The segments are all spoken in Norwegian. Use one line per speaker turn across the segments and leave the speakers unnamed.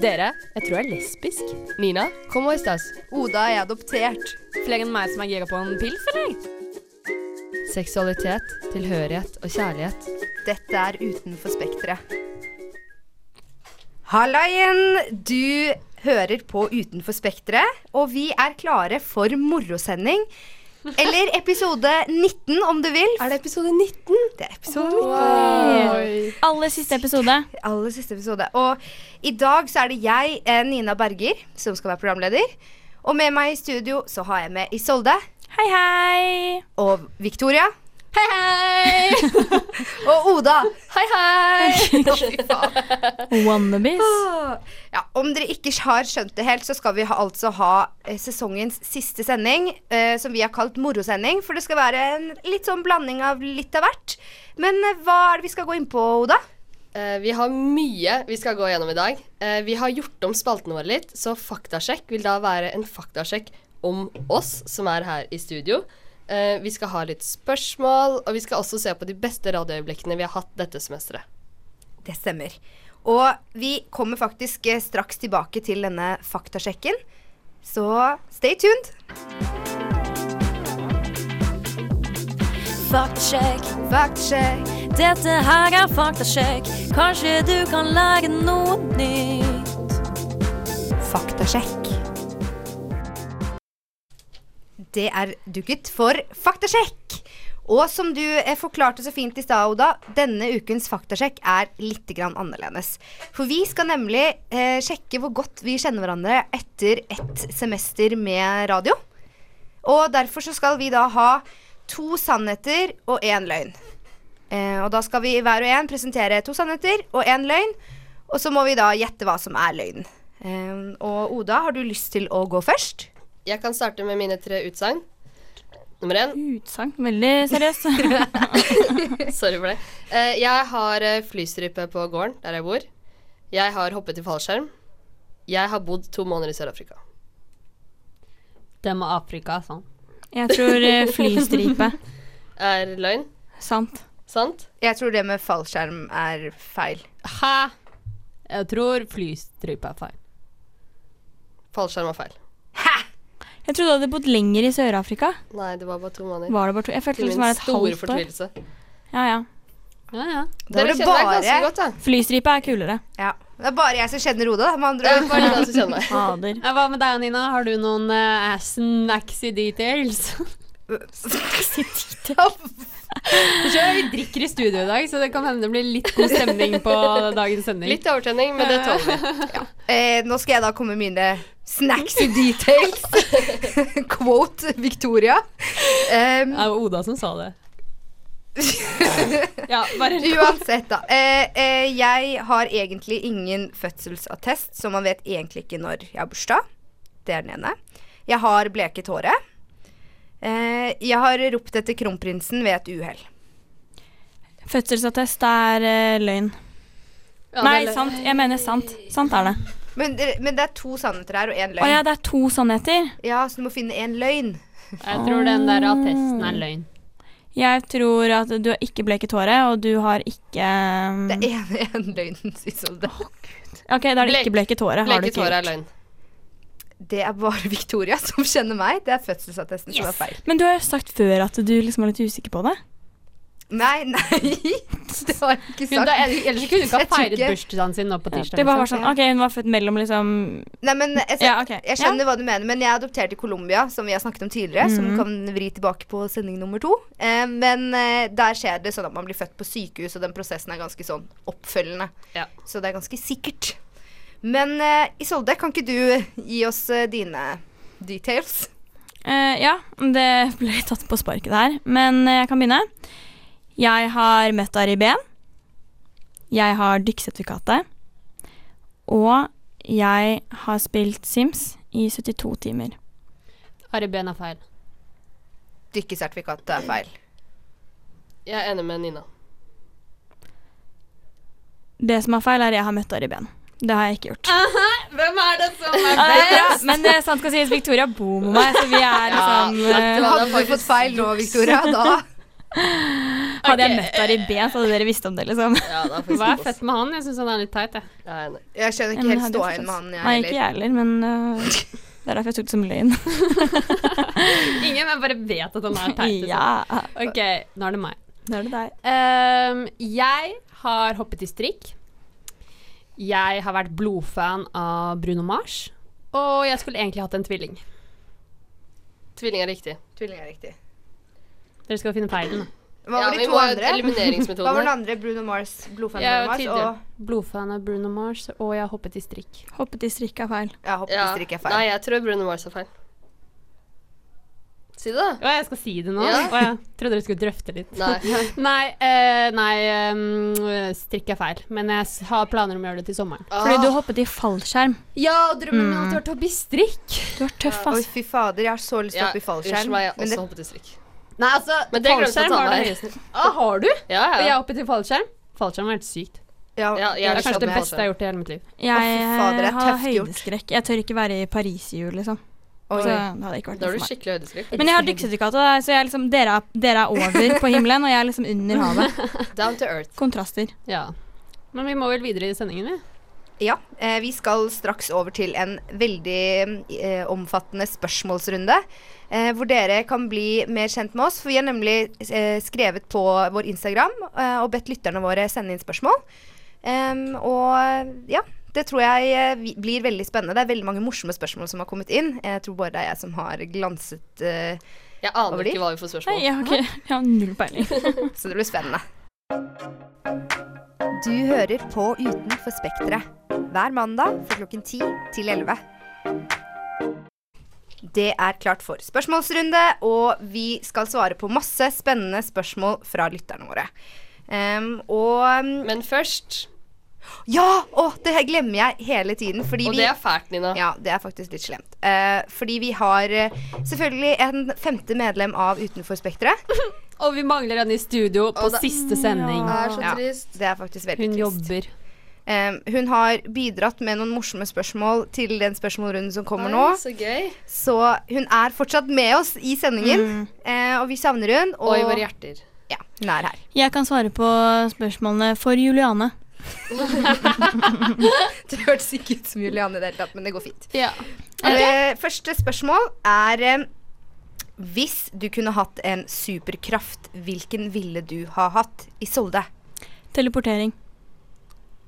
Dere, jeg tror jeg er lesbisk. Nina, kom og stas.
Oda er adoptert.
Flere enn meg som er gira på en pils, eller?
Seksualitet, tilhørighet og kjærlighet.
Dette er Utenfor spekteret. Halla igjen! Du hører på Utenfor spekteret, og vi er klare for morosending. Eller episode 19, om du vil.
Er det episode 19?
Det er episode 19.
Aller siste episode.
aller siste episode. Og i dag så er det jeg, eh, Nina Berger, som skal være programleder. Og med meg i studio så har jeg med Isolde
Hei, hei.
og Victoria. og Oda.
Hei, hei!
Å, fy faen.
Wannabes.
Ja, om dere ikke har skjønt det helt, så skal vi ha, altså ha eh, sesongens siste sending, eh, som vi har kalt morosending. For det skal være en litt sånn blanding av litt av hvert. Men eh, hva er det vi skal gå inn på, Oda?
Eh, vi har mye vi skal gå gjennom i dag. Eh, vi har gjort om spaltene våre litt, så faktasjekk vil da være en faktasjekk om oss som er her i studio. Eh, vi skal ha litt spørsmål, og vi skal også se på de beste radioøyeblikkene vi har hatt dette semesteret.
Det stemmer. Og vi kommer faktisk eh, straks tilbake til denne faktasjekken, så stay tuned.
Faktasjekk.
Faktasjekk.
Dette her er faktasjekk. Kanskje du kan lære noe nytt.
Faktasjekk. Det er dukket for faktasjekk. Og som du eh, forklarte så fint i stad, Oda, denne ukens faktasjekk er litt grann annerledes. For vi skal nemlig eh, sjekke hvor godt vi kjenner hverandre etter ett semester med radio. Og derfor så skal vi da ha to sannheter og én løgn. Eh, og da skal vi hver og en presentere to sannheter og én løgn. Og så må vi da gjette hva som er løgnen. Eh, og Oda, har du lyst til å gå først?
Jeg kan starte med mine tre utsagn. Nummer én
Utsagn. Veldig seriøst.
Sorry for det. Eh, jeg har eh, flystripe på gården der jeg bor. Jeg har hoppet i fallskjerm. Jeg har bodd to måneder i Sør-Afrika.
Det med Afrika, sånn.
Jeg tror eh, flystripe.
Er løgn?
Sant.
Sant?
Jeg tror det med fallskjerm er feil.
Hæ? Jeg tror flystripe er feil.
Fallskjerm var feil.
Jeg trodde du hadde bodd lenger i Sør-Afrika.
Nei, det var bare to måneder.
Var det bare to? Jeg følte
Til
det
min
var et
store
halvt år.
fortvilelse.
Ja, ja.
Ja,
Da
ja.
var
Dere
det
kjenner meg ganske
bare,
godt, da.
Flystripe er kulere.
ja, det er bare jeg som kjenner Oda, da, med andre
Det er
ord.
Eh, bare dere som kjenner meg.
Fader.
Hva med deg, Nina? Har du noen eh, snacksy details? Jeg tror vi drikker i studio i dag, så det kan hende det blir litt god stemning på dagens sending.
Litt overtenning, men det tåler vi.
Eh, nå skal jeg da komme med mine snacks i details. Quote Victoria. Um,
Det var Oda som sa det. Ja, bare
Uansett, da. Eh, eh, jeg har egentlig ingen fødselsattest, så man vet egentlig ikke når jeg har bursdag. Det er den ene. Jeg har bleket håret. Eh, jeg har ropt etter kronprinsen ved et uhell.
Fødselsattest er eh, løgn.
Ja,
Nei,
det er løgn.
sant. Jeg mener sant. Sant er det.
Men, dere- men det er to sannheter her og én løgn.
Å ja, det er to sannheter.
Ja, så du må finne én løgn.
Jeg tror den der attesten er løgn.
Jeg tror at du har ikke bleket håret, og du har ikke um,
Det er
Mm.
én, én løgn, Isolde.
Ok, da er det ikke bleket håret. Har du
Bleket
ikke
hår er
gjort.
løgn.
Det er bare Victoria som kjenner meg. Det er fødselsattesten som er feil.
Men du har jo sagt før at du liksom var litt usikker på det.
Nei, nei. Det har jeg ikke
Hun, da,
sagt.
ellers kunne hun ikke
Jeg
ha
tror
feiret
ikke-
bursdagen sin nå på tirsdag.
Det bare var
liksom.
sånn, ok, Hun var født mellom liksom
Nei, men jeg,
Ja, Mhm. ok.
jeg skjønner hva du mener, men jeg er adoptert i Colombia, som vi har snakket om tidligere, som kan vri tilbake på sending nummer to. Eh, men eh, der skjer det sånn at man blir født på sykehus, og den prosessen er ganske sånn oppfølgende.
Ja.
Så det er ganske sikkert. Men eh, Isolde, kan ikke du gi oss eh, dine details?
eh, Ja, det ble tatt på sparket der. Men eh, jeg kan begynne. Jeg har møtt Ari Behn. Jeg har dykkesertifikatet. Og jeg har spilt Sims i 72 timer.
Harry Behn er feil.
Dykkesertifikatet er feil.
Jeg er enig med Nina.
Det som er feil, er jeg har møtt Ari Behn. Det har jeg ikke gjort.
Hvem er det som er
Eh, Men eh, sant skal sies, Victoria bor med meg, så vi er liksom eh,
det var-
Hadde du
faktisk
fått feil nå, Victoria, da
Hadde
Ok.
jeg møtt her i B, så hadde dere visst om det, liksom.
Ja, det er faktisk
Hva
en
er fett med han? Jeg syns han er litt teit. Jeg.
boss. Jeg er enig.
Jeg skjønner
Ja,
ikke
men
helt
hadde jeg
ståa
forstått.
inn med han, jeg
Nei, ikke
heller.
jeg heller, men øh, det er derfor jeg tok det som løgn.
Ingen, men bare vet at han er teit. liksom.
ja,
liksom.
OK, nå er det meg.
nå er det deg.
Ehm, jeg har hoppet i strikk. Jeg har vært blodfan av Bruno Mars. Og jeg skulle egentlig hatt en tvilling.
Tvilling er riktig.
Tvilling er riktig.
Dere skal finne feilen.
Hva
Ja,
var
vi
de
må
to
ha
andre?
elimineringsmetoden
Hva var den
her.
andre? Bruno Mars, blodfan
Jeg er
Bruno
jo
Mars
tidligere
og
blodfan av Bruno Mars, og jeg har hoppet i strikk.
Hoppet i strikka feil.
Ja, håper
Ja.
ja. ikke er feil.
Nei, jeg tror Bruno Mars er feil. Si det, da.
Å, jeg skal si det nå?
Ja.
Å, jeg trodde dere skulle drøfte litt.
Nei.
Nei, eh, nei ehm, strikk er feil, men jeg s- har planer om å gjøre det til sommeren.
Fordi du
Ah,
hoppet i fallskjerm.
Ja, og drømmen min har alltid vært å bli strikk.
Du er tøff,
Oi,
ass.
fy fader, jeg har så lyst til å
ja,
hoppe i
Unnskyld
fallskjerm.
meg, jeg har
men
også
det-
hoppet i strikk.
Nei, altså,
Men det glemte jeg å
fallskjerm
ta
var
med.
det høyeste. Ah, har du?
Ja,
Og jeg
ja.
hoppet i fallskjerm. Fallskjerm var helt sykt.
ja,
ja, jeg
Det
er
er kanskje det
med
beste jeg har gjort i hele mitt liv.
Jeg
fy fader, det er
øh, har
tøft gjort.
høydeskrekk. Jeg tør ikke være i Paris i jul, liksom.
Oi.
Så det hadde ikke vært
Da har
noe for
du
meg.
skikkelig høydestrykk.
Men jeg har dykkesertifikat, og det er- så jeg er liksom, dere, er, dere er over på himmelen, og jeg er liksom under havet.
Down to earth.
Kontraster.
Ja. Men vi må vel videre i sendingen, vi.
Ja, eh, vi skal straks over til en veldig eh, omfattende spørsmålsrunde. Eh, hvor dere kan bli mer kjent med oss. For vi har nemlig eh, skrevet på vår Instagram eh, og bedt lytterne våre sende inn spørsmål. Em, og ja, det tror jeg eh, vi- blir veldig spennende. Det er veldig mange morsomme spørsmål som har kommet inn. Jeg tror bare det er jeg som har glanset, eh,
Jeg aner
Over dit?
ikke hva vi får
Nei,
spørsmål om.
jeg har, ikke, jeg har null peiling.
så det blir spennende. Du hører på Utenfor Spekteret hver mandag fra klokken 10 til 11. Det er klart for spørsmålsrunde, og vi skal svare på masse spennende spørsmål fra lytterne våre. Ehm, og
Men først
Ja! Å, det her glemmer jeg hele tiden. Fordi
Og
vi
det er fælt, Nina.
ja, det er faktisk litt slemt. Eh, fordi vi har eh, selvfølgelig en femte medlem av Utenfor Spekteret.
Og vi mangler henne i studio på
Og da-
siste sending.
Det er så
Ja.
trist.
Det er faktisk veldig trist.
Hun jobber.
Eh, hun har bidratt med noen morsomme spørsmål til den spørsmålrunden som kommer nå.
Oi, Så gøy.
Så hun er fortsatt med oss i sendingen,
Mm.
eh, og vi savner hun. Og
Og i våre hjerter.
ja, hun er her.
Jeg kan svare på spørsmålene for Juliane.
Det hørtes ikke ut som Julianne i det hele tatt, men det går fint.
Ja.
Eh, første spørsmål er eh, Hvis du kunne hatt en superkraft, hvilken ville du ha hatt? Isolde.
Teleportering.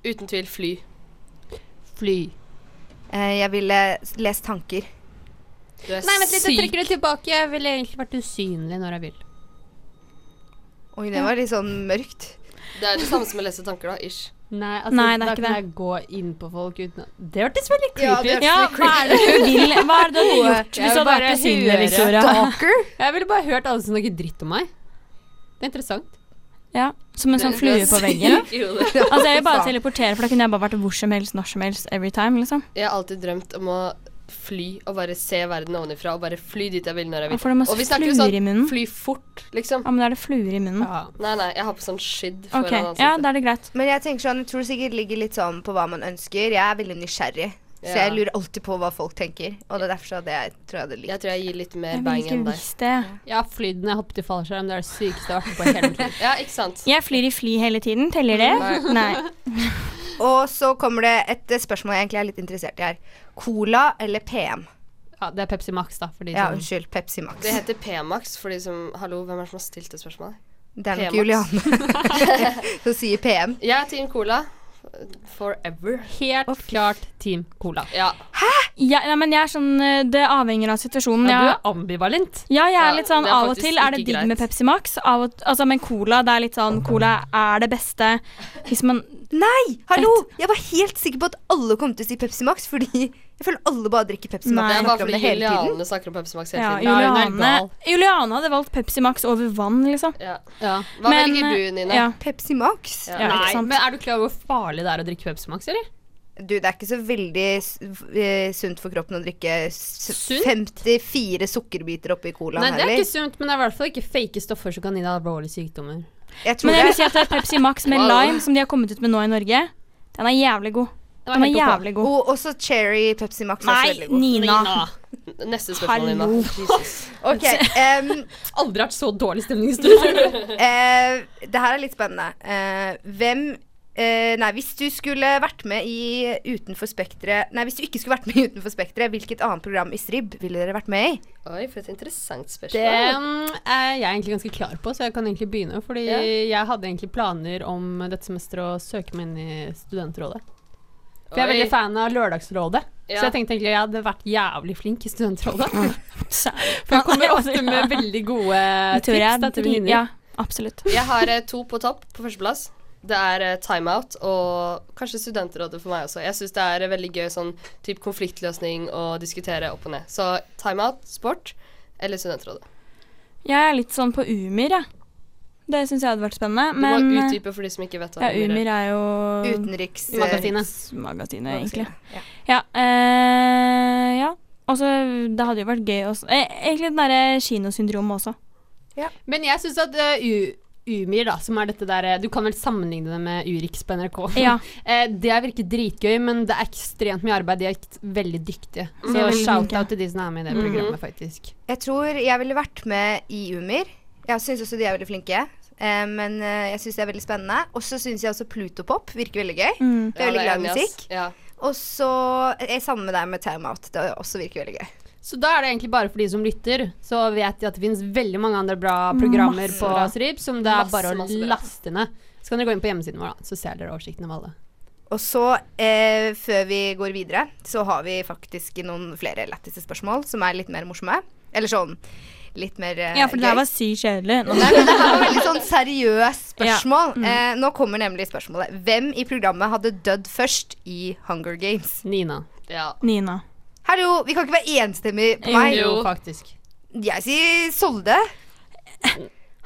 Uten tvil fly.
Fly.
Eh, jeg ville s- lest tanker.
Du er
Nei, vent litt, jeg
syk.
trekker det tilbake. Jeg ville egentlig vært usynlig når jeg vil.
Oi, det var litt sånn mørkt.
Det er det samme som å lese tanker, da. Ish.
Nei, altså,
Nei, det er
da
ikke
kan jeg gå inn på folk uten å Det hørtes veldig creepy ut.
Ja,
Ja, hva er det du vil? Hva er det du hadde gjort hvis
Jeg
du
vil
hadde
bare
vært usynlig,
høre.
Victoria?
Stalker?
Jeg ville bare hørt alle som snakker dritt om meg. Det er interessant.
Ja, som en sånn flue på veggen.
I hodet.
Altså, jeg vil bare
Faen.
teleportere, for da kunne jeg bare vært hvor som helst, når som helst, every time, liksom.
Jeg har alltid drømt om å fly og bare se verden ovenifra og bare fly dit jeg vil når jeg
Ja,
vil.
for det er masse
og vi snakker jo
fluer i
sånn
munnen.
fly fort, liksom.
Ja, men da er det fluer i munnen.
Ja.
Nei, nei, jeg har på sånn skydd foran
Ok,
ansiktet.
ja, da er det greit.
Men jeg tenker sånn, jeg tror det sikkert ligger litt sånn på hva man ønsker. Jeg er veldig nysgjerrig, så
Ja.
jeg lurer alltid på hva folk tenker. Og det er derfor så hadde jeg tror jeg hadde likt.
Jeg tror jeg gir litt mer
Jeg
bang
ville
enn
ikke
deg.
visst det.
Jeg har flydd når jeg hoppet i fallskjerm. Det er det sykeste jeg har vært på i hele mitt liv.
Ja, ikke sant?
Jeg flyr i fly hele tiden, teller det?
Nei.
Nei.
Og så kommer det et eh, spørsmål jeg egentlig er litt interessert i her. Cola eller PM?
Ja, det er Pepsi Max, da. Fordi
Ja,
sånn-
unnskyld, Pepsi
Liksom.
Max.
Det heter P-Max for de som Hallo, hvem er det som har stilt det spørsmålet?
Det er nok
P-Max.
Julianne som sier PM.
Jeg er Team Cola. Forever.
Helt klart Team Cola.
Ja.
Ja, nei, men jeg er sånn, eh, det avhenger av situasjonen.
Ja,
Jeg
du
har-
er ambivalent.
Ja, jeg
Ja,
er litt sånn
det er
av og
faktisk
til er det
ikke
digg med
greit.
Pepsi Max, av og, altså, men cola det er litt sånn Cola er det beste hvis man
Nei, hallo! Jeg var helt sikker på at alle kom til å si Pepsi Max, fordi jeg føler alle bare drikker Pepsi Max.
Nei.
Det er
og
bare
snakker om
fordi
det hele tiden.
Juliane snakker om Pepsi Max hele
ja,
tiden.
Ja, hun er
Juliane,
gal.
Juliane hadde valgt Pepsi Max over vann, liksom.
Ja.
Ja.
Hva
Men,
velger
eh,
du, Nina?
Ja.
Pepsi Max?
Ja.
Ja,
Nei,
ikke sant?
men er du klar over hvor farlig det er å drikke Pepsi Max, eller?
Du, det er ikke så veldig s- eh, sunt for kroppen å drikke s-
Sunt?
54 sukkerbiter oppi colaen
Nei, det er
heller.
ikke sunt, men det er i hvert fall ikke fake stoffer som kan gi deg alvorlige sykdommer.
Jeg tror
Men jeg vil
det.
si at det er Pepsi Max med
Wow.
lime, som de har kommet ut med nå i Norge, den er jævlig god.
Det var
Den er
helt ok.
jævlig god.
Og også cherry Pepsi Max er også
Nei,
veldig god.
Nina.
Nina.
Neste spørsmål, Nina.
Hallo.
Ok, em,
Aldri vært så dårlig stemning i studio.
eh, det her er litt spennende. Eh, hvem eh, Nei, hvis du skulle vært med i Utenfor Spektret Nei, hvis du ikke skulle vært med i Utenfor Spektret, hvilket annet program i Stribb ville dere vært med i?
Oi, for et interessant spørsmål.
Det mm, er jeg egentlig ganske klar på, så jeg kan egentlig begynne. Fordi
Ja.
jeg hadde egentlig planer om dette semesteret å søke meg inn i Studentrådet. For jeg er
Oi.
veldig fan av Lørdagsrådet.
Ja.
Så jeg tenkte egentlig jeg hadde vært jævlig flink i Studentrådet.
Særlig.
For jeg kommer ofte med veldig gode
Victoria,
tips da, til
dri-
venninner.
Ja, absolutt.
Jeg har eh, to på topp på førsteplass. Det er eh, Timeout og kanskje Studentrådet for meg også. Jeg syns det er eh, veldig gøy sånn typ konfliktløsning å diskutere opp og ned. Så Timeout, sport eller Studentrådet.
Jeg er litt sånn på Umir, jeg. Det syns jeg hadde vært spennende.
Du
Men eh,
må utdype for de som ikke vet hva
ja, Umir er jo
Utenriks... eh,
Um, Magasinet.
Magasinet, egentlig.
Ja.
Ja. Eh, ja. Og så Det hadde jo vært gøy også. Eh, egentlig den derre kinosyndromet også.
Men jeg syns at eh, U Umir, da, som er dette der eh, Du kan vel sammenligne det med Urix på NRK.
Ja.
Eh, det virker dritgøy, men det er ekstremt mye arbeid. De er ek- veldig dyktige.
Mm,
Så
er veldig Mm-hmm. flinke.
shout-out til de som er med i det programmet, faktisk.
Jeg tror jeg ville vært med i Umir. Jeg syns også de er veldig flinke. eh, men eh, jeg syns det er veldig spennende. Og så syns jeg også Plutopop virker veldig gøy.
Mm.
Jeg er veldig glad i
enig, ass.
musikk.
Ja.
Og så er jeg sammen med deg med Timeout. Det også virker veldig gøy.
Så da er det egentlig bare for de som lytter, så vet de at det fins veldig mange andre bra programmer
Masse
på
bra.
Strip som det er
Masse,
bare
masse
å
bra.
laste ned. Så kan dere gå inn på hjemmesiden vår, da, så ser dere oversikten av alle.
Og så, eh, før vi går videre, så har vi faktisk noen flere lættiste spørsmål som er litt mer morsomme. Eller sånn litt mer eh,
Ja, for det her
gøy.
var sykt kjedelig. Nå-
Nei, men det her var veldig sånn seriøst spørsmål.
mm.
Eh, nå kommer nemlig spørsmålet. Hvem i programmet hadde dødd først i Hunger Games?
Nina.
ja.
Nina.
Hallo, vi kan ikke være enstemmig på
Jo.
meg.
Jo, faktisk.
Jeg sier Solde.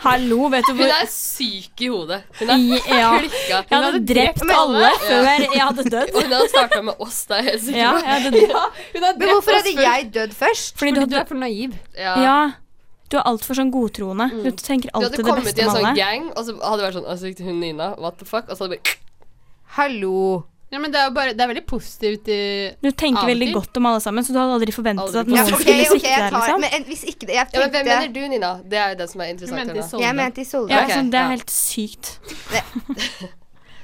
Hallo, vet du hvor
Hun er syk i hodet. Hun er
Ja.
klikka.
Jeg hadde drept
drept
alle
alle.
før jeg hadde dødd.
Og hun hadde starta med oss, det er jeg sikker
Ja, jeg hadde dødd.
Men hvorfor hadde jeg dødd først?
Fordi du
Fordi du
hadde
er for naiv.
på. Ja.
Ja. Du er altfor sånn godtroende. Du tenker
Du hadde
alltid det
kommet i
beste
en
med
sånn
alle.
gang, og så hadde det vært sånn «Å, så likte hun Nina, what the fuck? Og så hadde det bare
Hallo.
Ja, men det er jo bare Det er veldig positivt i
Du tenker
Av og
veldig
til.
godt om alle sammen, så du hadde aldri forventet
Aldri.
at
Ja,
noen
ok,
skulle
ok,
svikte
jeg
deg,
tar,
liksom.
men en- hvis ikke det Jeg
Ja, men hvem mener
tenkte
du, Nina? Det er jo det som er
Du
interessant.
mente
her
i
nå.
Solde.
Jeg mente i Solde.
Ja,
Ok,
sånn, det
ja.
er helt sykt.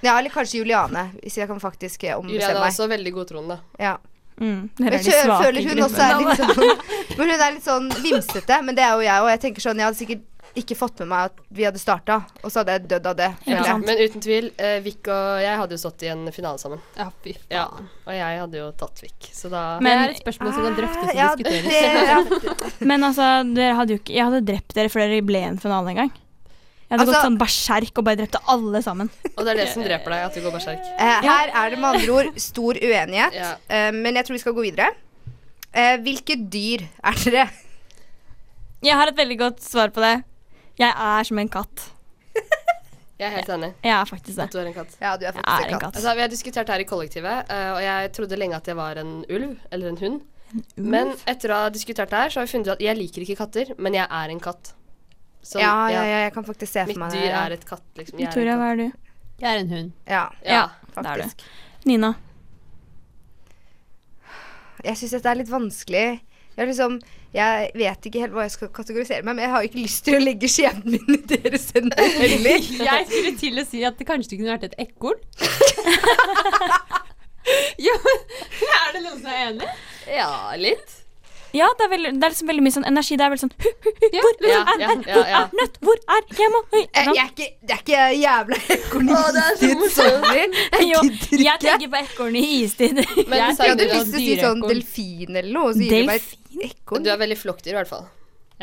Ja, eller kanskje Juliane, hvis jeg kan faktisk eh, ombestemme
Julian er
meg.
også veldig godtroende.
Ja.
Mm. Dere
Jeg
er de
kjø-
svake
føler
i
hun
gruppen.
også er litt sånn Men hun er litt sånn vimsete, men det er jo jeg òg. Jeg tenker sånn, jeg hadde sikkert ikke fått med meg at vi hadde starta, og så hadde jeg dødd av det. føler
Ja.
jeg.
sant.
Men uten tvil, eh, Vik og jeg hadde jo stått i en finale sammen.
Ja, fy
Ja.
faen.
Og jeg hadde jo tatt Vik, så da
Men-
det er et spørsmål som kan drøftes og
Ah, ja,
diskuteres.
det- ja.
Men altså, dere hadde jo ikke, jeg hadde drept dere før dere ble i en finale engang. Jeg hadde
Altså-
gått sånn berserk og bare drept alle sammen.
Og det er det som dreper deg, at du går berserk.
Eh, Her er det med andre ord stor uenighet,
Ja.
eh, men jeg tror vi skal gå videre. Eh, Hvilke dyr er dere?
Jeg har et veldig godt svar på det. Jeg er som en katt.
Jeg er helt enig.
Jeg er faktisk det.
Du er en katt.
Ja, du er
Jeg er
faktisk en
en
katt.
katt.
Altså, vi har diskutert det her i kollektivet, eh, og jeg trodde lenge at jeg var en ulv eller en hund. Men etter å ha diskutert det her, så har vi funnet ut at jeg liker ikke katter, men jeg er en katt. Så
Ja, ja,
jeg-
ja, jeg kan faktisk se for
mitt
meg det.
dyr
ja.
er et katt, liksom. Jeg er
Victoria,
en katt.
hva er du?
Jeg er en hund.
Ja,
Ja.
det er
faktisk.
du. Nina.
Jeg syns dette er litt vanskelig. Jeg, har liksom, jeg vet ikke helt hva jeg skal kategorisere meg, men jeg har jo ikke lyst til å legge skjebnen min i deres hender heller.
Jeg skulle til å si at det kanskje kunne vært et ekorn. jo, men er det noen som er enig?
ja, litt.
Ja, det er, veldig, det er liksom veldig mye sånn energi. Det er veldig sånn «Hu, hu, hu,
Ja,
Hvor er
ja, ja,
den?
ja,
Hvor
ja.
er nøtt? Hvor er hjemme? Oi,
Jeg,
sånn.
jeg er ikke, det er ikke jævla ekornistisk,
morsomt.
sorry.
Jo,
Jeg gidder
jeg
ikke.
tenker på ekorn i istid.
Men
Jeg
sa
Jeg hadde
du,
lyst til å si sånn delfin eller noe, og så gir det meg et
at du
ekorn.
er veldig flokkdyr, i hvert fall.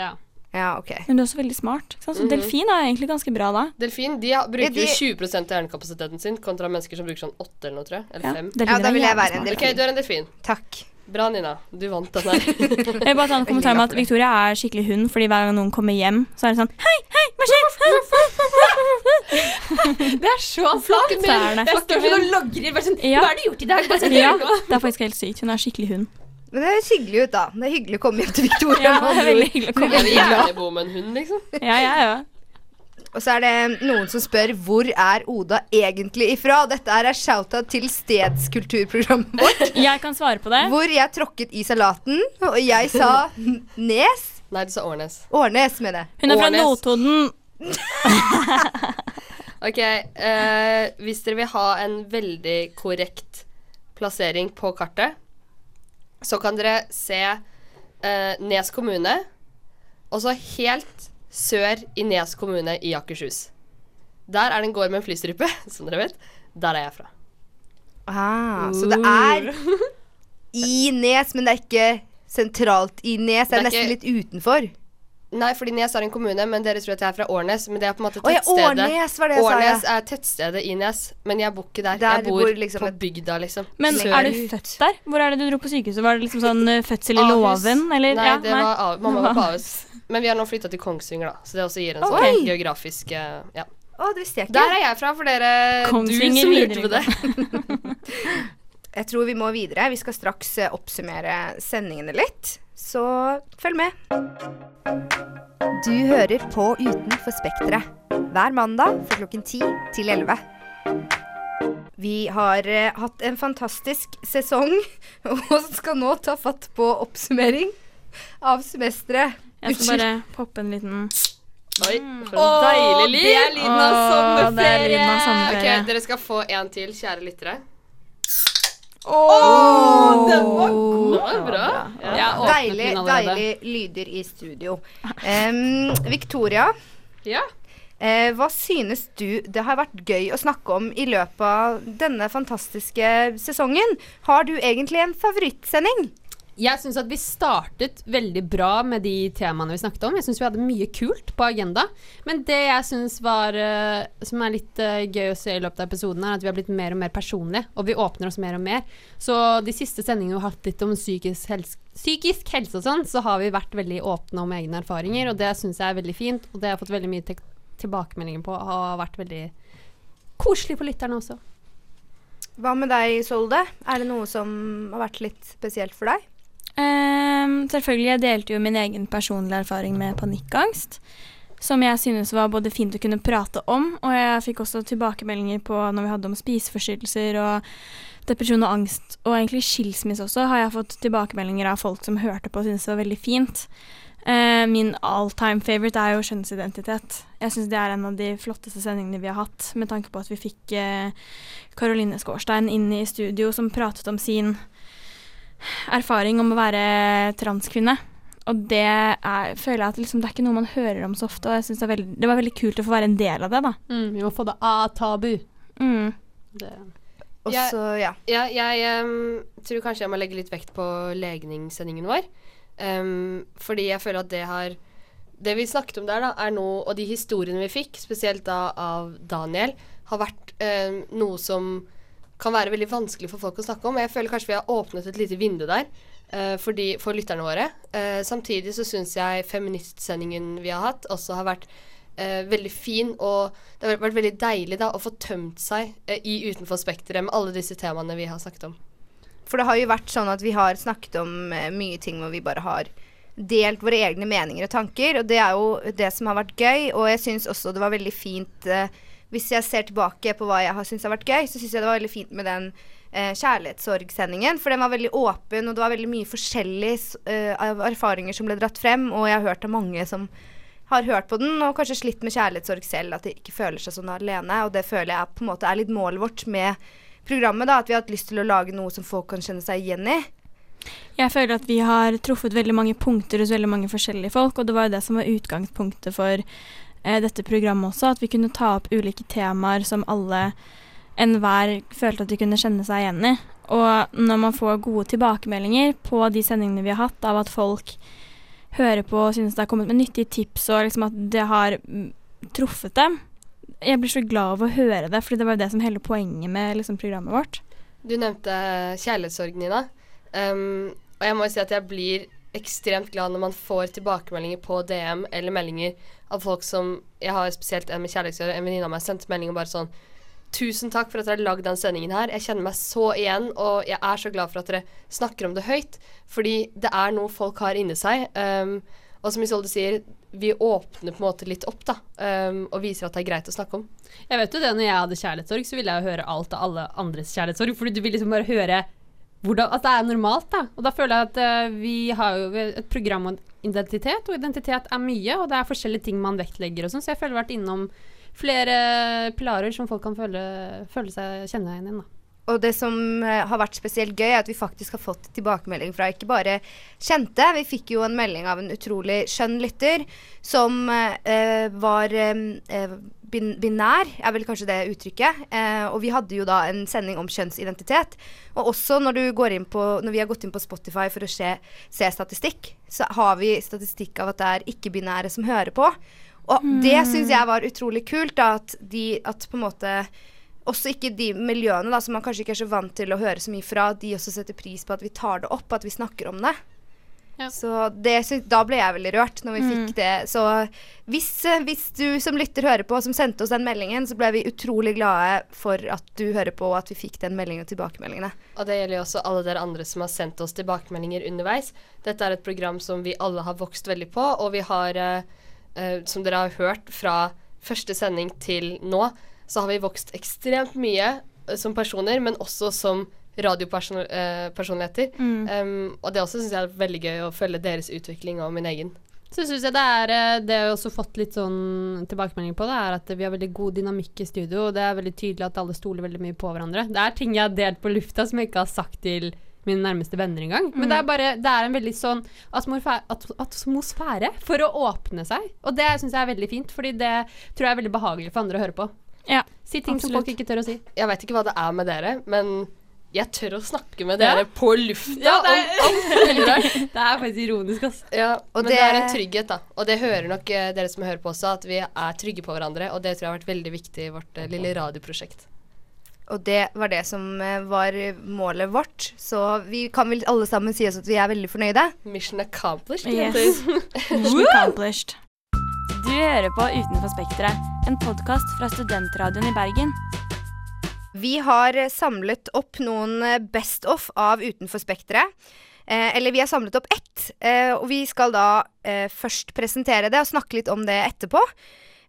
Ja.
Ja, ok.
Men du er også veldig smart. ikke sant?
Mhm.
Så delfin er egentlig ganske bra da.
Delfin de har- bruker
de-
jo 20 av hjernekapasiteten sin, kontra mennesker som bruker sånn 8 eller noe, tror jeg. Eller
Ja,
5.
delfiner
Ja, da
er
vil jeg
jævlig
være en
smarte.
OK, du er en delfin.
Takk.
Bra, Nina. Du vant den her.
Jeg vil bare ta en kommentar om at Victoria er skikkelig hund, fordi hver gang noen kommer hjem, så er det sånn Hei, hei, hva skjer?
Det er så flaut.
Det er det.
Jeg står sånn og logrer. Bare sånn,
Ja.
Hva har du gjort i dag? Bare sånn,
Ja,
«Gjør noe».
det er faktisk helt sykt. Hun er skikkelig hund.
Men det høres hyggelig ut, da. Det er hyggelig å komme hjem til Victoria. med
Ja, det er
andre
veldig
ord.
hyggelig å
Jeg
komme
vil
hjem.
gjerne bo med en hund, liksom.
Ja, jeg òg.
Og så er det noen som spør hvor er Oda egentlig ifra. Og Dette er en shout-out til stedskulturprogrammet vårt,
Jeg kan svare på det.
hvor jeg tråkket i salaten, og jeg sa n- Nes.
Nei, du sa Årnes.
Årnes, mener jeg.
Hun er fra
Årnes.
Notodden.
Ok, eh, hvis dere vil ha en veldig korrekt plassering på kartet, så kan dere se eh, Nes kommune, og så helt sør i Nes kommune i Akershus. Der er det en gård med en flystripe, som dere vet. Der er jeg fra.
Ah, så det er i Nes, men det er ikke sentralt i Nes. Det er
Det er
nesten litt utenfor.
Nei, fordi Nes er en kommune, men dere tror at jeg er fra Årnes. Men det er på en måte
Å ja,
tettstedet.
Årnes var det jeg sa,
Årnes
ja.
er tettstedet i Nes, men jeg bor ikke der.
Der
jeg bor,
bor liksom
på
et-
bygda, liksom.
Men
Sør.
er du født der? Hvor er det du dro på sykehuset? Var det liksom sånn eh, fødsel i
Ahus.
låven? Eller?
Nei,
Ja,
det var av, mamma var på Ahus. Men vi har nå flytta til Kongsvinger, da. Så det også gir en sånn
Oi.
geografisk eh, Ja.
Å, det visste jeg ikke.
Der er jeg fra, for dere du
Kongsvinger
som lurte på det.
Jeg tror vi må videre. Vi skal straks eh, oppsummere sendingene litt, så følg med. Du hører på Utenfor spekteret hver mandag fra klokken 10 til 11. Vi har eh, hatt en fantastisk sesong og skal nå ta fatt på oppsummering av semesteret.
Jeg skal bare poppe en liten
Oi, for en deilig lyd.
det er lyden av
Åh, det er lyden av
sommerferie!
Ok,
sommerferie.
Dere skal få en til, kjære lyttere.
den var
Det var bra. Ja.
Jeg åpnet
Deilig,
den allerede.
deilig lyder i studio. Em, Victoria,
ja.
Eh, hva synes du det har vært gøy å snakke om i løpet av denne fantastiske sesongen? Har du egentlig en favorittsending?
Jeg syns at vi startet veldig bra med de temaene vi snakket om. Jeg syns vi hadde mye kult på agenda. Men det jeg syns var eh, som er litt eh, gøy å se i løpet av episoden, er at vi har blitt mer og mer personlige. Og vi åpner oss mer og mer. Så de siste sendingene vi har hatt litt om psykisk helse, psykisk helse og sånn, så har vi vært veldig åpne om egne erfaringer, og det syns jeg er veldig fint. Og det har jeg fått veldig mye tek- tilbakemeldinger på, og har vært veldig koselig for lytterne også.
Hva med deg, Solde? Er det noe som har vært litt spesielt for deg?
Ehm, selvfølgelig, jeg delte jo min egen personlige erfaring med panikkangst, som jeg synes var både fint å kunne prate om, og jeg fikk også tilbakemeldinger på når vi hadde om spiseforstyrrelser og depresjon og angst, og egentlig skilsmisse også, har jeg fått tilbakemeldinger av folk som hørte på og syntes det var veldig fint. Eh, min all time favorite er jo kjønnsidentitet. Jeg syns det er en av de flotteste sendingene vi har hatt, med tanke på at vi fikk Karoline Skårstein inn i studio, som pratet om sin erfaring om å være transkvinne. Og det er, føler jeg at liksom, det er ikke noe man hører om så ofte. Og jeg synes det, er veld, det var veldig kult å få være en del av det, da.
Mm, vi må få det av tabu.
Mm.
Det.
Og
Jeg-
så, ja.
Ja, jeg em, tror kanskje jeg må legge litt vekt på legningssendingen vår. Em, fordi jeg føler at det har Det vi snakket om der, da, er noe Og de historiene vi fikk, spesielt da av Daniel, har vært em, noe som kan være veldig vanskelig for folk å snakke om. Jeg føler kanskje vi har åpnet et lite vindu der eh, for, de, for lytterne våre. Eh, samtidig så syns jeg feministsendingen vi har hatt, også har vært eh, veldig fin. Og det har vært veldig deilig da, å få tømt seg eh, i Utenfor Spekteret med alle disse temaene vi har snakket om.
For det har jo vært sånn at vi har snakket om eh, mye ting hvor vi bare har delt våre egne meninger og tanker, og det er jo det som har vært gøy. Og jeg syns også det var veldig fint eh, Hvis jeg ser tilbake på hva jeg har syntes har vært gøy, så syns jeg det var veldig fint med den eh, kjærlighetssorgsendingen, for den var veldig åpen, og det var veldig mye forskjellig s- eh, av erfaringer som ble dratt frem, og jeg har hørt av mange som har hørt på den og kanskje slitt med kjærlighetssorg selv, at de ikke føler seg sånn alene. Og det føler jeg på en måte er litt målet vårt med programmet, da, at vi har hatt lyst til å lage noe som folk kan kjenne seg igjen i.
Jeg føler at vi har truffet veldig mange punkter hos veldig mange forskjellige folk, og det var jo det som var utgangspunktet for eh, dette programmet også, at vi kunne ta opp ulike temaer som alle enhver følte at de kunne kjenne seg igjen i. Og når man får gode tilbakemeldinger på de sendingene vi har hatt, av at folk hører på og synes det har kommet med nyttige tips, og liksom at det har mm, truffet dem, jeg blir så glad av å høre det, for det var jo det som hele poenget med liksom, programmet vårt.
Du nevnte kjærlighetssorgen, Nina. Em, og jeg må jo si at jeg blir ekstremt glad når man får tilbakemeldinger på DM eller meldinger av folk som Jeg har spesielt en med kjærlighetssorg. En venninne av meg sendte melding og bare sånn Tusen takk for at dere har lagd den sendingen her. Jeg kjenner meg så igjen, og jeg er så glad for at dere snakker om det høyt. Fordi det er noe folk har inni seg. em, og som Isolde sier, vi åpner på en måte litt opp, da. ehm, og viser at det er greit å snakke om.
Jeg vet jo det, når jeg hadde kjærlighetssorg, så ville jeg jo høre alt av alle andres kjærlighetssorg. Fordi du vil liksom bare høre hvordan, at det er normalt, da. Og da føler jeg at eh, vi har jo et program om identitet, og identitet er mye, og det er forskjellige ting man vektlegger og sånn, så jeg føler jeg har vært innom flere eh, pilarer som folk kan føle, føle seg kjenne igjen i, da.
Og det som eh, har vært spesielt gøy, er at vi faktisk har fått tilbakemelding fra ikke bare kjente. Vi fikk jo en melding av en utrolig skjønn lytter som eh, var eh, eh, bin binær, er vel kanskje det uttrykket. Eh, og vi hadde jo da en sending om kjønnsidentitet. Og også når, du går inn på, når vi har gått inn på Spotify for å se, se statistikk, så har vi statistikk av at det er ikke-binære som hører på. Og det syns jeg var utrolig kult, da, at de at på en måte også ikke de miljøene da, som man kanskje ikke er så vant til å høre så mye fra, de også setter pris på at vi tar det opp, at vi snakker om det.
Ja.
Så det, sy- da ble jeg veldig rørt når vi fikk det. Så hvis, eh, hvis du som lytter hører på, som sendte oss den meldingen, så ble vi utrolig glade for at du hører på, og at vi fikk den meldingen og tilbakemeldingene.
Og det gjelder jo også alle dere andre som har sendt oss tilbakemeldinger underveis. Dette er et program som vi alle har vokst veldig på, og vi har, eh, eh, som dere har hørt fra første sending til nå, så har vi vokst ekstremt mye eh, som personer, men også som radiopersonligheter. og det også syns jeg er veldig gøy å følge deres utvikling og min egen.
Så synes jeg det er eh, Det jeg har også fått litt sånn tilbakemelding på, det er at vi har veldig god dynamikk i studio. Og det er veldig tydelig at alle stoler veldig mye på hverandre. Det er ting jeg har delt på lufta som jeg ikke har sagt til mine nærmeste venner engang. Men det er bare Det er en veldig sånn atmosfæ- at- atmosfære for å åpne seg. Og det syns jeg er veldig fint, fordi det tror jeg er veldig behagelig for andre å høre på.
Ja,
Si ting som
absolutt.
folk ikke tør å si.
Jeg veit ikke hva det er med dere, men jeg tør å snakke med
Ja.
dere på lufta
Ja, det
om alt mulig rart.
Det er faktisk ironisk, ass.
Ja,
Og
men det... er en
det-
trygghet, da. Og det hører nok eh, dere som hører på også, at vi er trygge på hverandre. Og det tror jeg har vært veldig viktig i vårt eh, lille radioprosjekt.
Og det var det som eh, var målet vårt. Så vi kan vel alle sammen si oss at vi er veldig fornøyde.
Mission accomplished. jenter.
Yes. Mission accomplished. Du hører på Utenfor Spekteret, en podkast fra studentradioen i Bergen.
Vi har eh, samlet opp noen eh, best of av Utenfor Spekteret. Eh, eller vi har samlet opp ett, eh, og vi skal da eh, først presentere det og snakke litt om det etterpå.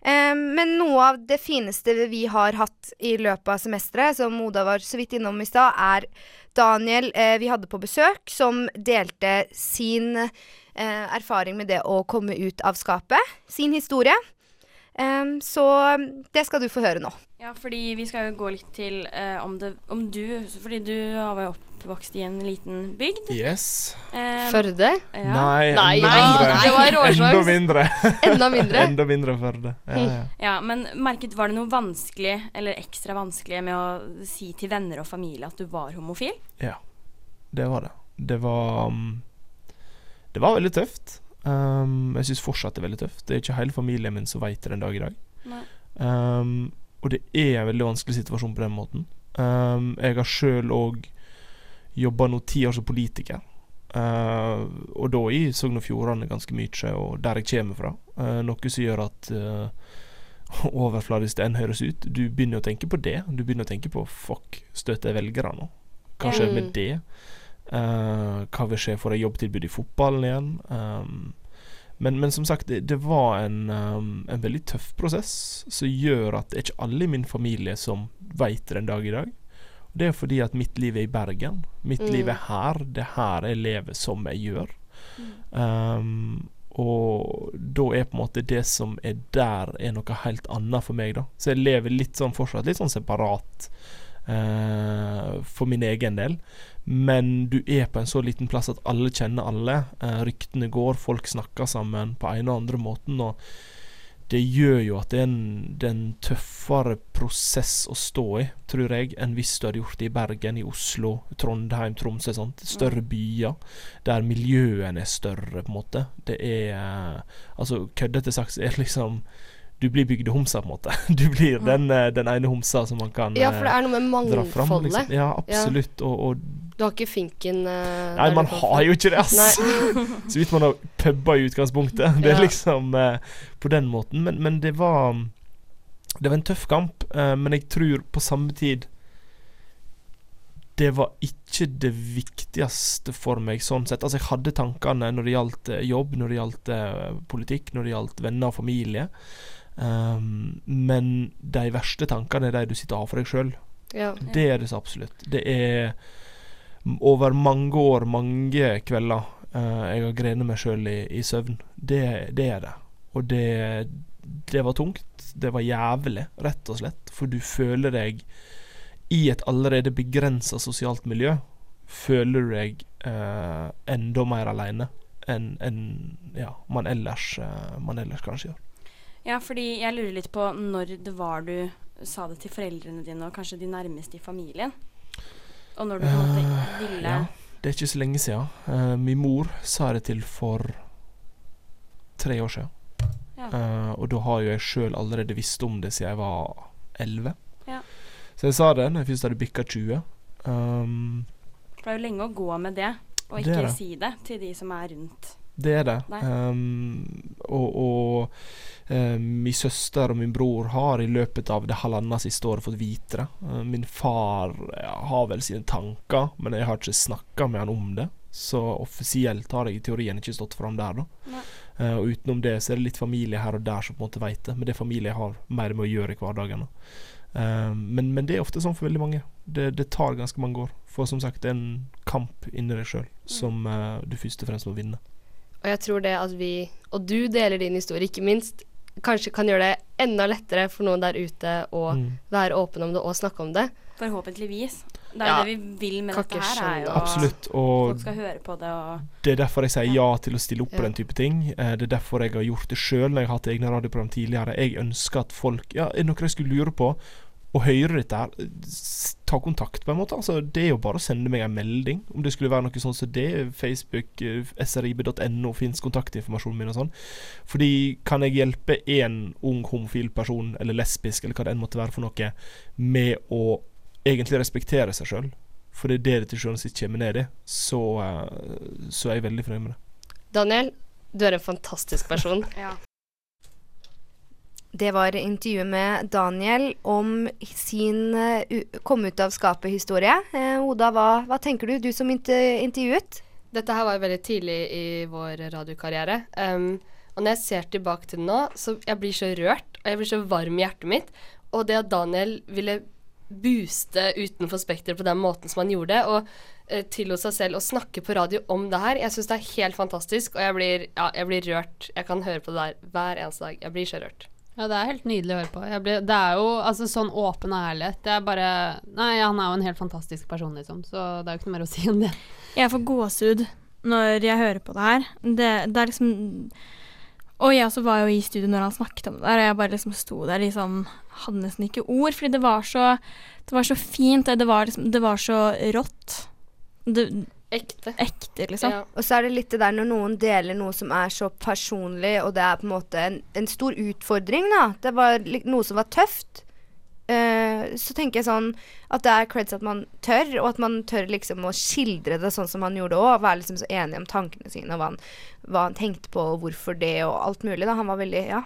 Eh, men noe av det fineste vi har hatt i løpet av semesteret, som Oda var så vidt innom i stad, er Daniel eh, vi hadde på besøk, som delte sin eh, erfaring med det å komme ut av skapet. Sin historie. Eh, så det skal du få høre nå.
Ja, fordi vi skal jo gå litt til eh, om, det, om du Fordi du var jo oppvokst i en liten bygd.
Yes.
Eh,
Førde?
ja.
Nei,
Nei,
enda
nei,
mindre.
nei, det var
enda
råsjanse.
mindre.
Enda mindre.
enda mindre Førde. Ja, ja.
ja, men merket var det noe vanskelig, eller ekstra vanskelig, med å si til venner og familie at du var homofil?
Det var det. Det var um, Det var veldig tøft. Um, jeg syns fortsatt det er veldig tøft. Det er ikke hele familien min som veit det den dag i dag.
Nei.
Um, og det er en veldig vanskelig situasjon på den måten. Um, jeg har sjøl òg jobba nå ti år som politiker. Uh, og da i Sogn og Fjordane ganske mye, og der jeg kommer fra. Uh, noe som gjør at uh, overfladisk det enn høres ut, du begynner å tenke på det. Du begynner å tenke på fuck, støter jeg velgere nå? Hva skjer med
Mm.
det? Eh, hva vil skje? Får jeg jobbtilbud i fotballen igjen? Um, men, men som sagt, det, det var en, um, en veldig tøff prosess som gjør at det er ikke alle i min familie som veit det den dag i dag. Det er fordi at mitt liv er i Bergen. Mitt
Mm.
liv er her. Det er her jeg lever som jeg gjør. Um, og da er på en måte det som er der, er noe helt annet for meg, da. Så jeg lever litt sånn fortsatt, litt sånn separat eh, for min egen del. Men du er på en så liten plass at alle kjenner alle. Eh, ryktene går, folk snakker sammen på ene og andre måten. Og det gjør jo at det er en, det er en tøffere prosess å stå i, tror jeg, enn hvis du hadde gjort det i Bergen, i Oslo, Trondheim, Tromsø. Sant? Større byer der miljøene er større, på en måte. Det er eh, Altså, køddete sagt, så er det liksom Du blir bygdehomsa, på en måte. Du blir den, eh, den ene homsa som man kan
Ja, for det
eh,
er noe med
dra fram.
mangfoldet.
Liksom. Ja, absolutt. Og, og
Du har ikke finken eh,
Nei,
der
man
du kommer
har
fra.
jo ikke det, ass! Så vidt man har pubba i utgangspunktet. Det er
Ja.
liksom eh, på den måten. Men, men det var Det var en tøff kamp, eh, men jeg tror på samme tid det var ikke det viktigste for meg sånn sett. Altså, jeg hadde tankene når det gjaldt eh, jobb, når det gjaldt eh, politikk, når det gjaldt venner og familie. Ehm, men de verste tankene er de du sitter og har for deg sjøl.
Ja.
Det er det så absolutt. Det er m- over mange år, mange kvelder, eh, jeg har grenet meg sjøl i, i søvn. Det, det er det. Og det, det var tungt. Det var jævlig, rett og slett. For du føler deg i et allerede begrensa sosialt miljø. Føler du deg eh, enda mer aleine enn enn, ja, man, ellers, eh, man ellers kanskje gjør.
Ja, fordi jeg lurer litt på når det var du sa det til foreldrene dine, og kanskje de nærmeste i familien. Og når du på en måte
Eh,
ville
ja. Det er ikke så lenge siden. Eh, min mor sa det til for tre år siden.
Ja.
Eh, og da har jo jeg sjøl allerede visst om det siden jeg var 11.
Ja.
Så jeg sa det når jeg først hadde bikka 20. Um,
For det er jo lenge å gå med det, og
Det
ikke
er det.
si det til de som er rundt.
Det er det.
Nei.
Ehm, og og eh, min søster og min bror har i løpet av det halvannet siste året fått vite det. Eh, min far ja, har vel sine tanker, men jeg har ikke snakka med han om det. Så offisielt har jeg i teorien ikke stått fram der, da.
Nei.
Eh, og utenom det så er det litt familie her og der som på en måte veit det, men det er familie jeg har mer med å gjøre i hverdagen. Da. Eh, men, men det er ofte sånn for veldig mange. Det, det tar ganske mange år. For som sagt, det er en kamp inni deg sjøl
Mm.
som eh, du først og fremst må vinne.
Og jeg tror det at vi, og du deler din historie, ikke minst, kanskje kan gjøre det enda lettere for noen der ute å
Mm.
være åpen om det og snakke om det.
Forhåpentligvis. Det er jo
Ja.
det vi vil med
Kan
dette
ikke
her, er jo
skjønne.
Absolutt. Og
folk skal høre på det og
det er derfor jeg sier ja til å stille opp på
Ja.
den type ting. Eh, Det er derfor jeg har gjort det sjøl når jeg har hatt egne radioprogram tidligere. Jeg ønsker at folk Ja, er det noe jeg skulle lure på og høre dette her, s- ta kontakt, på en måte. Altså, det er jo bare å sende meg en melding. Om det skulle være noe sånn som det, Facebook, eh, srib.no, fins kontaktinformasjonen min og sånn. Fordi kan jeg hjelpe én ung homofil person, eller lesbisk, eller hva det enn måtte være for noe, med å egentlig respektere seg sjøl? For det er det det til sjuende og sist kommer ned i. Så, eh, så er jeg veldig fornøyd med det.
Daniel, du er en fantastisk person.
ja.
Det var intervjuet med Daniel om sin eh, u- kom ut av skapet-historie. Eh, Oda, hva, hva tenker du, du som inter intervjuet?
Dette her var jo veldig tidlig i vår radiokarriere. Um, og når jeg ser tilbake til det nå, så jeg blir så rørt, og jeg blir så varm i hjertet mitt. Og det at Daniel ville booste utenfor Spekter på den måten som han gjorde, og eh, tillot seg selv å snakke på radio om det her, jeg syns det er helt fantastisk. Og jeg blir, ja, jeg blir rørt. Jeg kan høre på det der hver eneste dag. Jeg blir så rørt.
Ja, det er helt nydelig å høre på. Jeg ble, det er jo altså, sånn åpen og ærlighet. Det er bare Nei, han er jo en helt fantastisk person, liksom, så det er jo ikke noe mer å si enn det.
Jeg får gåsehud når jeg hører på det her. Det, det er liksom Og jeg også var jo i studio når han snakket om det der, og jeg bare liksom sto der liksom Hadde nesten ikke ord, fordi det var så Det var så fint, og det var liksom Det var så rått. Det,
Ekte.
ekte, liksom.
Ja.
Og så er det litt det der når noen deler noe som er så personlig, og det er på en måte en, en stor utfordring, da. Det var li- noe som var tøft. Eh, så tenker jeg sånn at det er creds at man tør, og at man tør liksom å skildre det sånn som han gjorde òg. Være liksom så enig om tankene sine, og hva han, hva han tenkte på, og hvorfor det, og alt mulig. da Han var veldig Ja.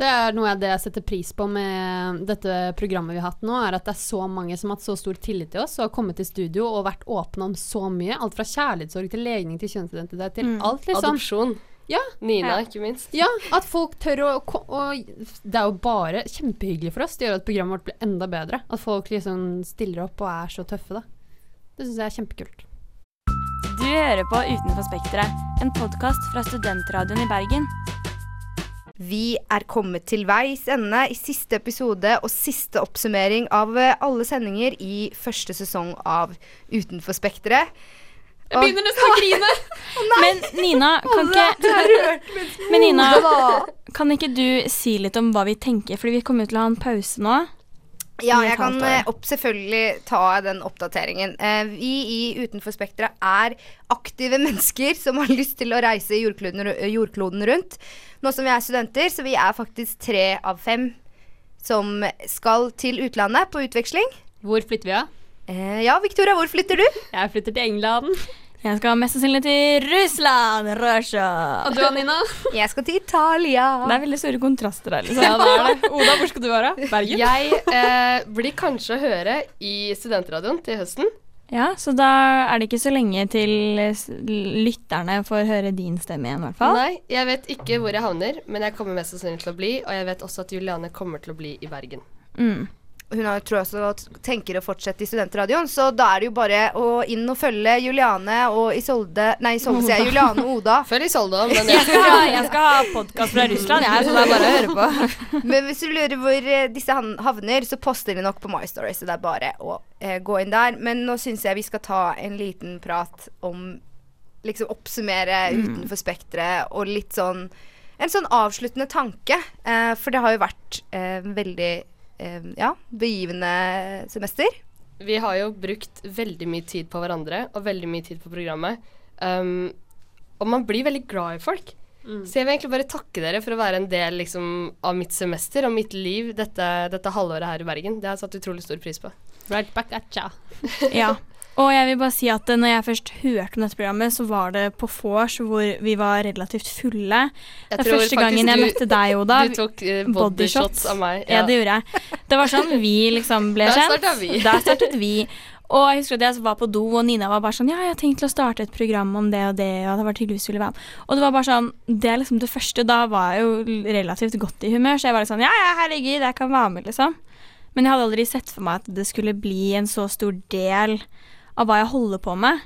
Det er noe av det jeg setter pris på med dette programmet vi har hatt nå, er at det er så mange som har hatt så stor tillit til oss og har kommet i studio og vært åpne om så mye. Alt fra kjærlighetssorg til legning til kjønnsidentitet til alt, liksom.
Adopsjon.
Ja.
Nina,
Ja.
ikke minst.
Ja, at folk tør å ko- og Det er jo bare kjempehyggelig for oss. Det gjør at programmet vårt blir enda bedre. At folk liksom stiller opp og er så tøffe, da. Det syns jeg er kjempekult.
Du hører på Utenfor Spekteret, en podkast fra Studentradioen i Bergen.
Vi er kommet til veis ende i siste episode og siste oppsummering av eh, alle sendinger i første sesong av Utenfor Spekteret. Jeg begynner
nesten å grine!
Men Nina, kan ikke Men Nina, kan ikke du si litt om hva vi tenker, fordi vi kommer jo til å ha en pause nå.
Ja,
i et
jeg kan
halvt år.
eh, opp, selvfølgelig ta den oppdateringen. Eh, vi i Utenfor Spekteret er aktive mennesker som har lyst til å reise jordkloden, ru- jordkloden rundt. Nå som vi er studenter, så vi er faktisk tre av fem som skal til utlandet på utveksling.
Hvor flytter vi av?
Eh, ja, Victoria, hvor flytter du?
Jeg flytter til England.
Jeg skal mest sannsynlig til Russland, Russia.
Og du, Anina?
Jeg skal til Italia.
Det er veldig store kontraster der, liksom.
Ja, det er det. Oda, hvor skal du være? Bergen?
Jeg eh, blir kanskje å høre i studentradioen til høsten.
Ja, så da er det ikke så lenge til eh, s- lytterne får høre din stemme igjen, i hvert fall.
Nei, jeg vet ikke hvor jeg havner, men jeg kommer mest sannsynlig til å bli, og jeg vet også at Juliane kommer til å bli i Bergen.
Mm.
Hun har, tror jeg også tenker å fortsette i studentradioen, så da er det jo bare å inn og følge Juliane og Isolde Nei, Isolde sier jeg. Juliane og Oda.
Før Isolde òg, men eh,
Jeg skal ha, jeg skal ha podkast fra Russland, jeg, så det er bare å høre på.
Men hvis du lurer hvor eh, disse han- havner, så poster de nok på My Story, så det er bare å eh, gå inn der. Men nå syns jeg vi skal ta en liten prat om Liksom oppsummere
Mm.
utenfor spekteret og litt sånn En sånn avsluttende tanke. Eh, for det har jo vært eh, veldig eh, ja, begivende semester.
vi har jo brukt veldig mye tid på hverandre og veldig mye tid på programmet. Um, og man blir veldig glad i folk.
Mm.
Så jeg vil egentlig bare takke dere for å være en del liksom, av mitt semester og mitt liv dette, dette halvåret her i Bergen. Det har jeg satt utrolig stor pris på.
Right back at ya.
Ja. Og jeg vil bare si at eh, når jeg først hørte om dette programmet, så var det på vors hvor vi var relativt fulle.
Jeg
det er første gangen jeg møtte deg, Oda.
Du tok eh, bodyshots
bodyshots.
av meg.
Ja, det gjorde jeg. Det var sånn vi liksom ble
Der
kjent.
startet vi.
Der startet vi. Og jeg husker at jeg var på do, og Nina var bare sånn Ja, jeg har tenkt til å starte et program om det og det, og det var tydeligvis ville være med. Og det var bare sånn Det er liksom det første. Da var jeg jo relativt godt i humør, så jeg var litt sånn Ja, ja, herregud, jeg kan være med, liksom. Men jeg hadde aldri sett for meg at det skulle bli en så stor del av hva jeg holder på med.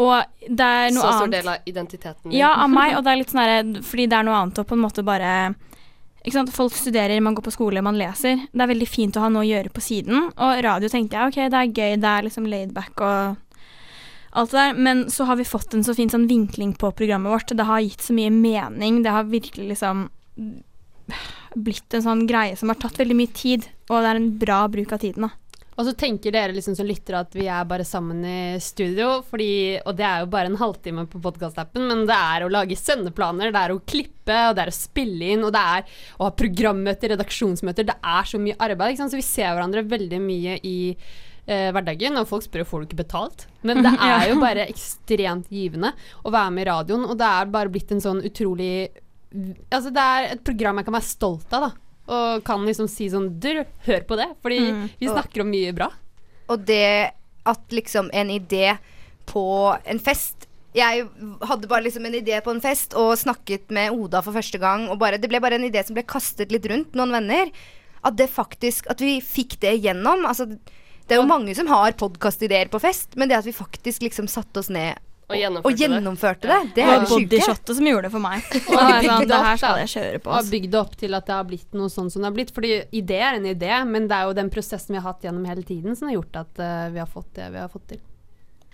Og det er
Så
noe
stor
annet
del av identiteten min.
ja, av meg, og det er litt sånn herre Fordi det er noe annet å på en måte bare ikke sant? Folk studerer, man går på skole, man leser. Det er veldig fint å ha noe å gjøre på siden. Og radio tenkte jeg ok, det er gøy, det er liksom laidback og alt det der. Men så har vi fått en så fin sånn vinkling på programmet vårt. Det har gitt så mye mening. Det har virkelig liksom blitt en sånn greie som har tatt veldig mye tid. Og det er en bra bruk av tiden, da.
Og så tenker dere liksom som lyttere at vi er bare sammen i studio, fordi, og det er jo bare en halvtime på podkastappen, men det er å lage sendeplaner, det er å klippe, og det er å spille inn, og det er å ha programmøter, redaksjonsmøter, det er så mye arbeid, ikke sant? så vi ser hverandre veldig mye i eh, hverdagen, og folk spør jo får du ikke betalt, men det er jo bare ekstremt givende å være med i radioen, og det er bare blitt en sånn utrolig Altså, det er et program jeg kan være stolt av, da. Og kan liksom si sånn Du, hør på det, fordi vi snakker om mye bra.
Og det at liksom en idé på en fest Jeg hadde bare liksom en idé på en fest og snakket med Oda for første gang. Og bare, det ble bare en idé som ble kastet litt rundt noen venner. At det faktisk At vi fikk det igjennom. Altså, det er jo mange som har podkastideer på fest, men det at vi faktisk liksom satte oss ned
Og gjennomførte
og gjennomførte det, det,
Det
er
var
det sjuke.
bodyshotet som gjorde det for meg. Og
Og
jeg, sånn,
bygde
det
opp,
her skal
da.
jeg kjøre på. altså.
Og har
ass."
bygd det opp til at det har blitt noe sånn som det har blitt. Fordi idé er en idé, men det er jo den prosessen vi har hatt gjennom hele tiden som har gjort at eh, vi har fått det vi har fått til.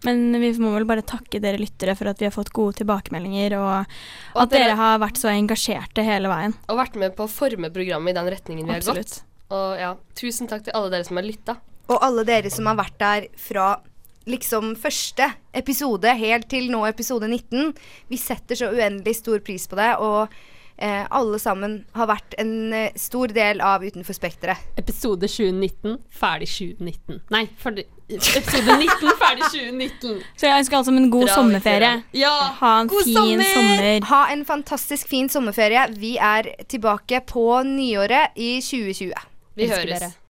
Men vi må vel bare takke dere lyttere for at vi har fått gode tilbakemeldinger, og at,
Og at
dere
dere-
har vært så engasjerte hele veien.
Og vært med på å forme programmet i den retningen vi har gått.
Absolutt.
Og ja, tusen takk til alle dere som har lytta.
Og alle dere som har vært der fra liksom første episode helt til nå episode 19. Vi setter så uendelig stor pris på det, og eh, alle sammen har vært en eh, stor del av Utenfor Spekteret.
Episode 2019, ferdig 2019. Nei, ferdig, episode 19, ferdig 2019.
Så jeg ønsker alle sammen en god
Bra,
sommerferie.
Victoria.
Ha en fin sommer!
Ha en fantastisk fin sommerferie. Vi er tilbake på nyåret i 2020.
Vi
Elsker
høres.
dere.